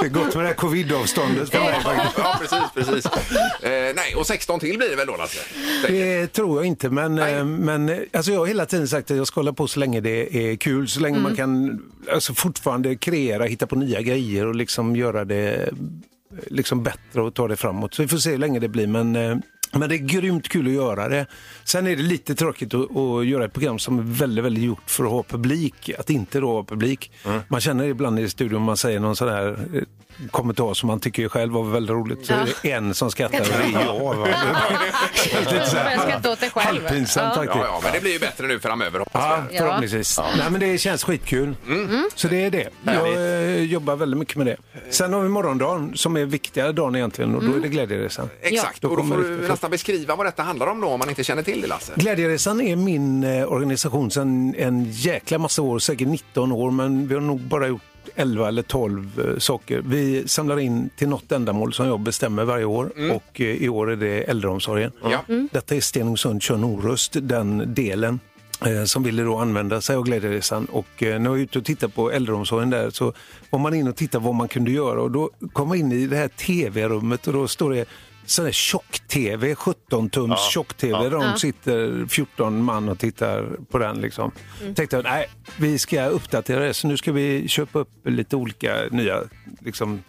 det är gott med det här covid-avståndet för mig faktiskt. Ja, precis, precis. Eh, nej, och 16 till blir det väl då Lasse? Det tror jag inte, men, eh, men eh, alltså jag har hela tiden sagt att jag ska hålla på så länge det är kul, så länge man kan alltså fortfarande kreera, hitta på nya grejer och liksom göra det eh, liksom bättre och ta det framåt. Så vi får se hur länge det blir, men, eh, men det är grymt kul att göra det. Sen är det lite tråkigt att, att göra ett program som är väldigt, väldigt gjort för att ha publik, att inte då ha publik. Man känner ibland i studion, man säger någon sån här eh, kommentar som man tycker själv var väldigt roligt, så är det en som skrattar och det är jag. Va? Jag skrattar åt dig själv. Halvpinsamt Ja. faktiskt. Ja, Ja, ja, men det blir ju bättre nu framöver hoppas jag. ja, Mm. förhoppningsvis. Nej, men det känns skitkul. Mm. Så det är det. Jag Härligt. eh, jobbar väldigt mycket med Mm. det. Sen har vi morgondagen som är viktigare dagen egentligen och då är det glädjeresan. Exakt, Då och då kommer får det du riktigt nästan nästan beskriva vad detta handlar om då, om man inte känner till det Lasse. Glädjeresan är min eh, organisation sedan en jäkla massa år, säkert 19 år, men vi har nog bara gjort 11 eller 12 eh, saker. Vi samlar in till något ändamål som jag bestämmer varje år och eh, i år är det äldreomsorgen. Ja. Detta är Stenungsund Tjörn Orust, den delen eh, som ville då använda sig av Glädjeresan. Och eh, när jag var ute och tittade på äldreomsorgen där så var man in och tittade vad man kunde göra och då kom man in i det här tv-rummet och då står det sån här tjock-tv, 17-tums Ja. tjock-tv Ja. där de Ja. sitter 14 man och tittar på den. Liksom. Mm. Tänkte jag, nej, vi ska uppdatera det så nu ska vi köpa upp lite olika nya liksom,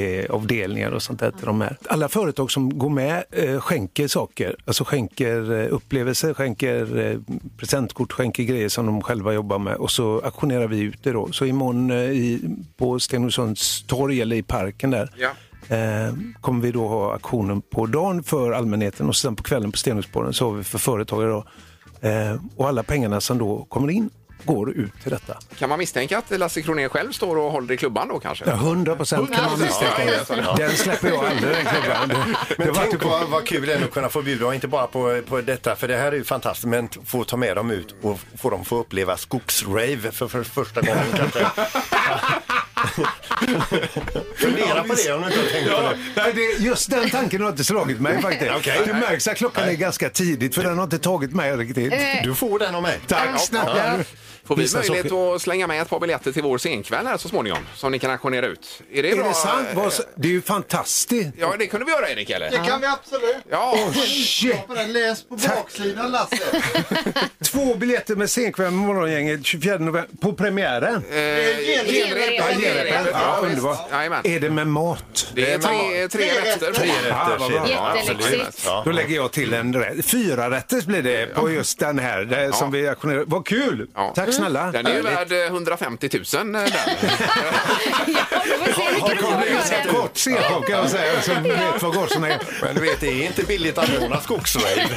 tv-avdelningar och sånt där till de här. Alla företag som går med eh, skänker saker, alltså skänker eh, upplevelser, skänker eh, presentkort, skänker grejer som de själva jobbar med och så auktionerar vi ut det då. Så imorgon eh, i, på Stenungsunds torg eller i parken där Ja. Eh, kommer vi då ha auktionen på dagen för allmänheten och sen på kvällen på Stenungsborgen så har vi för företagare. Då. Eh, och alla pengarna som då kommer in går ut till detta. Kan man misstänka att Lasse Kronér själv står och håller i klubban då kanske? Ja, 100 procent kan man misstänka det. Den släpper jag aldrig, den klubban. Det- typ Men tänk vad, vad kul det är att kunna få bjuda, och inte bara på, på detta, för det här är ju fantastiskt, men t- få ta med dem ut och få dem få uppleva skogsrave för, för första gången kanske. Fundera på det om du inte har tänkt på det. Nej, det, just den tanken har inte slagit mig faktiskt. Okej. Du märks att klockan är ganska tidigt för den har inte tagit mig riktigt. Nej. Du får den av mig. Tack snälla. Eh, Får vi Vissa möjlighet saker- att slänga med ett par biljetter till vår scenkväll här så småningom som ni kan auktionera ut? Är det Är bra? det sant? Vad så- Det är ju fantastiskt. Ja, det kunde vi göra Erik, eller? Det kan vi absolut. Ja. Åh, shit. Läs på baksidan Lasse. Två biljetter med scenkväll med Morgongänget 24 november på premiären. genrepet. Ja, genrepet. Ja, Ja, Eh, visst. underbart. Jajamän. Är det med mat? Ah, Det är tre, tre rätter. Tre rätter. vad bra. Ja, absolut. Jätteläxigt. Då lägger jag till en rätt. Fyra rätter blir det på just den här det som vi auktionerar. Vad kul! Tack snälla. Den är ju värd eh, 150 000. eh, Den. Har kommit in så kort senap kan jag säga, som vet vad gorsen är. Men du vet, det är inte billigt att anordna skogsrave.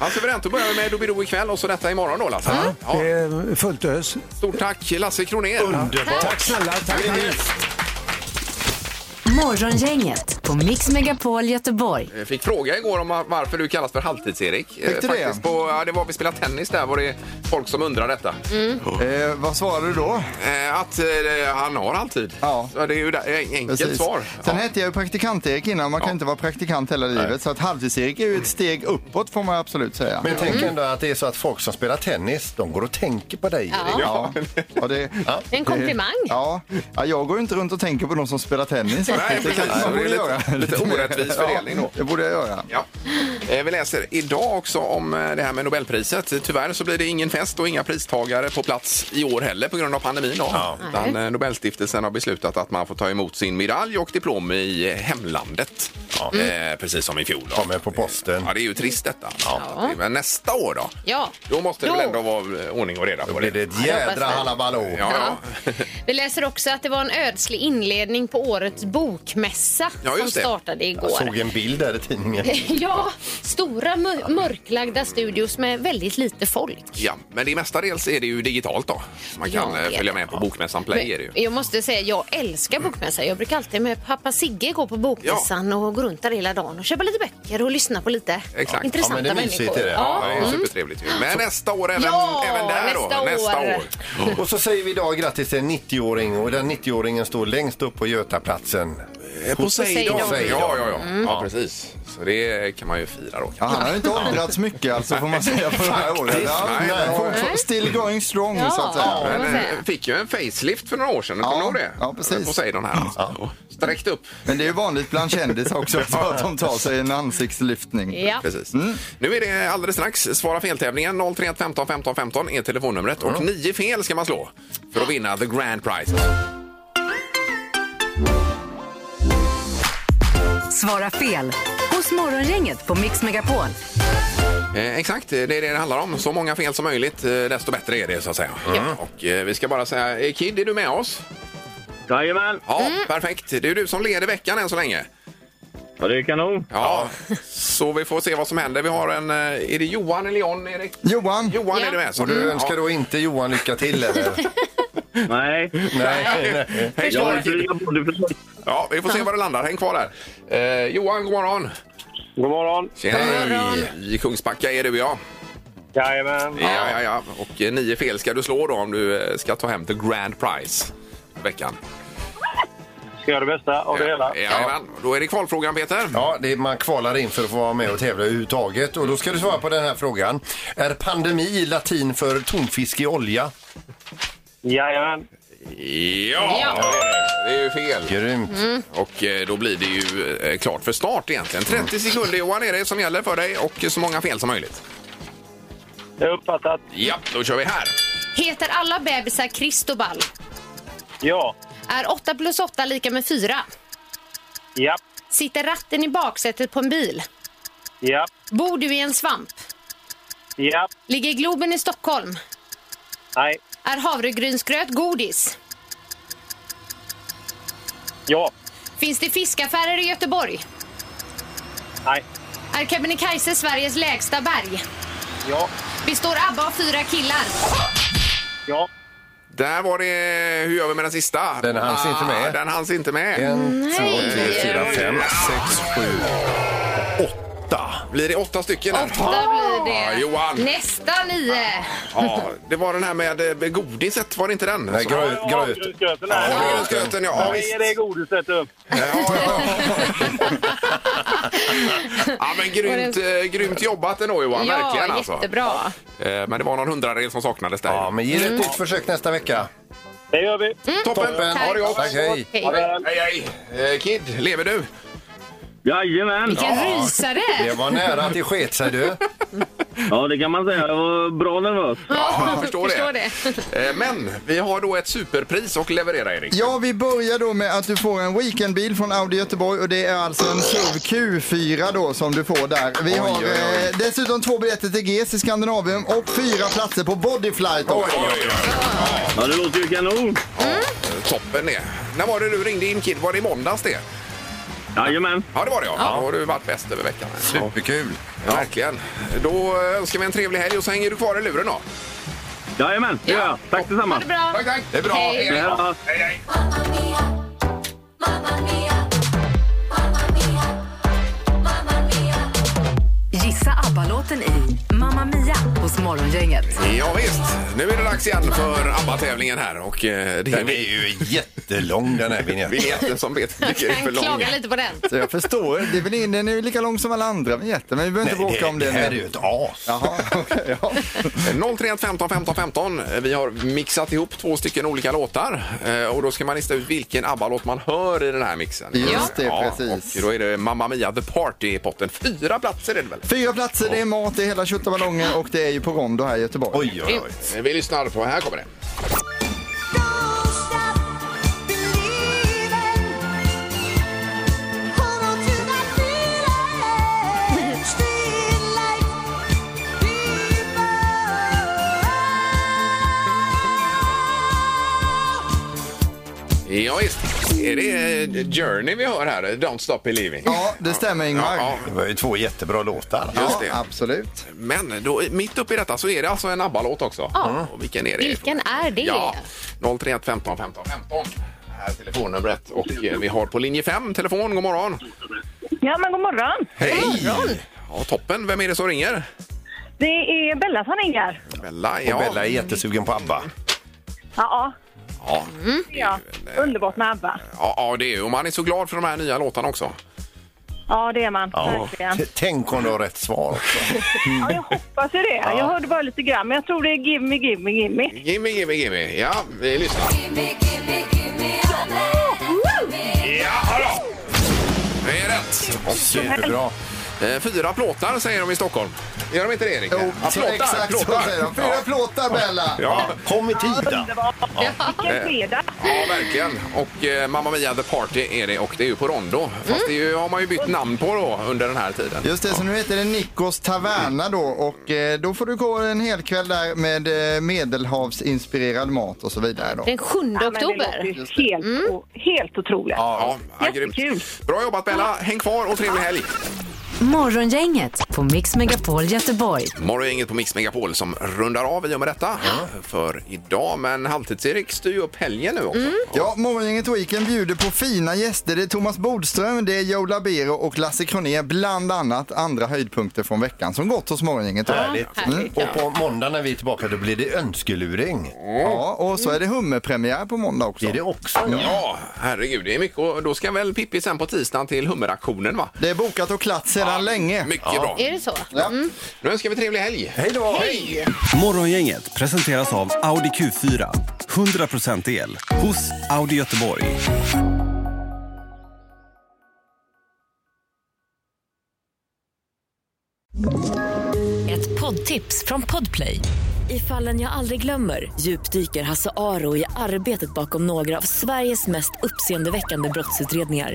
Ja, suveränt, då börjar vi med Doobidoo ikväll och så detta imorgon då Lasse. Mm. Ja. Det är fullt ös. Stort tack Lasse Kronér. Mm. Underbart. Tack snälla. Tack. Morgongänget på Mix Megapol Göteborg. Jag fick fråga igår om varför du kallas för Halvtids-Erik. Eh, Fick du det? Faktiskt på, ja, det var vi spelade tennis där var det folk som undrade detta. Eh, vad svarade du då? Eh, Att eh, han har alltid. Ja. Så det är ju där- eh, enkelt Precis. svar. Sen hette jag ju praktikant-Erik innan. Man kan inte vara praktikant hela livet. Så att halvtids-Erik är ju ett steg uppåt får man absolut säga. Men tänk Mm. ändå att det är så att folk som spelar tennis, de går och tänker på dig. Ja. Erik. Ja. Ja, det, En komplimang. Det, Eh, ja. ja, jag går ju inte runt och tänker på de som spelar tennis. Nej, faktiskt. det precis. kanske man Det är borde göra. lite, lite orättvis fördelning då. Ja, det borde jag göra. Ja. Eh, Vi läser idag också om eh, det här med Nobelpriset. Tyvärr så blir det ingen fest och inga pristagare på plats i år heller på grund av pandemin. Då. Utan eh, Nobelstiftelsen har beslutat att man får ta emot sin medalj och diplom i eh, hemlandet. Eh, precis som i fjol. Då. Kommer på posten. Ja, det är ju trist detta. Ja. Men nästa år då? Ja. Då måste det Då. väl ändå vara eh, ordning och reda på det. blir det ett Jag hoppas jädra det. halabaloo. Ja, ja. Vi läser också att det var en ödslig inledning på årets bokmässa Ja, som just det. startade Jag såg igår. en bild där i tidningen. Ja, stora mör- mörklagda studios med väldigt lite folk. ja, men det mestadels är det ju digitalt då. Man kan Ja, eh, det är följa med på Bokmässan Play. är det ju. Men Jag måste säga, jag älskar bokmässa. Jag brukar alltid med pappa Sigge gå på bokmässan och gå runt där hela dagen och köpa lite böcker och lyssna på lite Exakt. intressanta Ja, men det är mysigt, människor. är det. Ja, det är supertrevligt ju. Men nästa år även, Mm. Ja, även där nästa då. Nästa år. år. Mm. Och så säger vi idag grattis till en 90-åring och den 90-åringen står längst upp på Götaplatsen. Eh, Poseidon. Ja, Poseidon. ja, ja. ja, precis. Så det kan man ju fira då. Mm. Ja, han har ju inte åldrats mycket alltså får man säga på det här året. Faktiskt, Ja, nej, men nej. fortfarande Still going strong Ja, så att säga. ja. Men man säga. eh, fick ju en facelift för några år sedan. Kommer du ihåg det? ja, precis. Poseidon här. Sträckt upp. Men det är ju vanligt bland kändisar också så att de tar sig en ansiktslyftning. Ja. Precis. Mm. Mm. Nu är det alldeles strax Svara fel-tävlingen. 031 15 15 15 är telefonnumret. Och nio fel ska man slå för att vinna the grand prize. Svara fel hos Morgongänget på Mix Megapol. Eh, exakt, det är det det handlar om. Så många fel som möjligt, eh, desto bättre är det så att säga. Och eh, vi ska bara säga, eh, Kid, är du med oss? Jajamän. Ja, Mm. perfekt. Det är du som leder veckan än så länge. Ja, det är kanon. Ja, så vi får se vad som händer. Vi har en... eh, Är det Johan eller John, Erik? Johan, Johan Ja. är det med. Så Och Mm. du önskar då inte Johan lycka till eller? Nej. nej, nej. Hej, Jag Johan. är flyga- du förstår- Ja, vi får se var det landar. Häng kvar där. Eh, Johan, god morgon. God morgon. Tjena. God morgon. I Kungsbacka är du ja. Jajamän. Ja, ja, ja. Och eh, nio fel ska du slå då om du eh, ska ta hem the grand prize i veckan. Ska göra det bästa av det hela. Jajamän. Då är det kvalfrågan, Peter. Ja, det är, man kvalar in för att få vara med och tävla överhuvudtaget. Och då ska du svara på den här frågan. Är pandemi latin för tonfisk i olja? Jajamän. Ja, Ja. det är ju fel. Grymt. Och eh, då blir det ju eh, klart för start egentligen. 30 sekunder Johan är det som gäller för dig och så många fel som möjligt. Jag uppfattat. Ja, då kör vi här. Heter alla bebisar Cristobal? Ja. Är 8 plus 8 lika med 4? Ja. Sitter ratten i baksätet på en bil? Ja. Bor du i en svamp? Ja. Ligger Globen i Stockholm? Nej. Är havregrynsgröt godis? Ja. Finns det fiskaffärer i Göteborg? Nej. Är Kebnekaise Sveriges lägsta berg? Ja. Består ABBA av fyra killar? Ja. Där var det... eh, Hur gör vi med den sista? Ah, Den hanns inte med. Den hanns inte med. En, två, tre, fyra, fem, sex, sju, åtta. Blir det åtta stycken? här? Där blir det. Ja, Johan. Nästa nio. Ah, Ja, det var den här med eh, godiset, var det inte den? Nej, gröt. gröt. Havregrynsgröten. Ja, havregrynsgröten, ja. Ja, visst. Det är godiset du. Ja, men grymt, eh, grymt jobbat ändå Johan, verkligen Ja, alltså. jättebra. Eh, Men det var någon hundradel som saknades där. Ja, men ge det ett nytt försök nästa vecka. Det gör vi. Toppen! Toppen. Ha det gott! Tack, hej. Ha det. Hej, hej! Eh, Kid, lever du? Jajamän! Vilken rysare! Det var nära att det sket sig du. Ja, det kan man säga. Jag var bra nervös. Ja, jag förstår, det. Eh, Men vi har då ett superpris att leverera, Erik. Ja, vi börjar då med att du får en weekendbil från Audi Göteborg och det är alltså en SUV Q4 då som du får där. Vi har Eh, dessutom två biljetter till GES i Skandinavium och fyra platser på Bodyflight också. Ja, det låter ju kanon. Eh, Toppen det. När var det du ringde in, Kid? Var det i måndags det? Jajamän. Ja, det var det ja. Då har du varit bäst över veckan. här. Superkul. Ja. Verkligen. Då eh, önskar vi en trevlig helg och så hänger du kvar i luren då. Jajamän, det gör jag. Tack detsamma. Bra. Tack, tack. Det är bra. Hej. Hej då. Ja. Hej, hej. Gissa ABBA-låten i Mamma Mia hos Morgongänget. Ja, visst, nu är det dags igen för ABBA-tävlingen här. Och eh, det är, Den är ju jättelång den här vinjetten. vinjetten som vet Jag tycker är för kan lång. klaga lite på den. Så jag förstår, det är väl in, den är ju lika lång som alla andra vinjetter men vi behöver inte bråka om det. det här är nu. ju ett as. Jaha, okej, ja. 031 15 15 15. Vi har mixat ihop två stycken olika låtar eh, och då ska man lista ut vilken ABBA-låt man hör i den här mixen. Just det, precis. Och då är det Mamma Mia The Party i potten. Fyra platser är det väl? Fyra platser, det är mat, det är hela tjottaballongen och det är ju på Rondo här i Göteborg. Oj, oj, oj. Eh, Vi lyssnar på, här kommer det. Ja, visst. Är det eh, Journey vi hör här? Don't Stop Believing. Ja, det stämmer Ingmar. Ja, Det var ju två jättebra låtar. ja, just Ja, det. absolut. Men då, mitt uppe i detta så är det alltså en ABBA-låt också. Ja. Och vilken är det? Vilken är det? Ja, 031 15 15 15. Här är telefonnumret. Och eh, vi har på linje 5 telefon. God morgon! Ja, men god morgon. Hej! Ja, toppen. Vem är det som ringer? Det är Bella som ringer. Bella, ja. Och Bella är jättesugen på ABBA. Ja, Ja, ja. Underbart med ABBA. ja, ja, det är ju. Och man är så glad för de här nya låtarna också. Ja, det är man. Ja. Verkligen. T- Tänk om du har rätt svar också. Ja, jag hoppas ju det. Jag hörde bara lite grann, men jag tror det är Give me, give me, give me. Gimme, gimme, gimme. Ja, vi lyssnar. Ja, då. Det är rätt. Och, Superbra. eh, fyra plåtar säger de i Stockholm. Gör de inte det, Erik? Jo, Ja, så exakt så säger de. Fyra Ja. plåtar Bella! Ja. Kom i tid då. Vilken fredag. Ja, verkligen. Och eh, Mamma Mia The Party är det och det är ju på Rondo. Fast det är ju, har man ju bytt namn på då under den här tiden. Mm. Just det, så nu heter det Nikos Taverna då och eh, då får du gå en hel kväll där med eh, medelhavsinspirerad mat och så vidare då. Den 7 Ja, men det låter oktober. ju helt, o- helt otroligt. Ja, ja, grymt. Jättekul. Bra jobbat Bella. Häng kvar och trevlig helg. Morgongänget på Mix Megapol Göteborg. Morgongänget på Mix Megapol som rundar av i och med detta för idag. Men Halvtids-Erik styr ju upp helgen nu också. Ja, Morgongänget Weekend bjuder på fina gäster. Det är Thomas Bodström, det är Joe Labero och Lasse Kronér bland annat. Andra höjdpunkter från veckan som gått hos Morgongänget. då. Mm. Och på måndag när vi är tillbaka då blir det önskeluring. Ja, och så är det hummerpremiär på måndag också. Mm. Är det också? Ja, herregud, det är mycket. Och då ska väl Pippi sen på tisdagen till hummeraktionen va? Det är bokat och klart sedan länge. Mycket bra. Är det så? Mm. Nu önskar vi trevlig helg. Hej då! Hej! Morgongänget presenteras av Audi Q4. 100% el hos Audi Göteborg. Ett poddtips från Podplay. I fallen jag aldrig glömmer djupdyker Hasse Aro i arbetet bakom några av Sveriges mest uppseendeväckande brottsutredningar.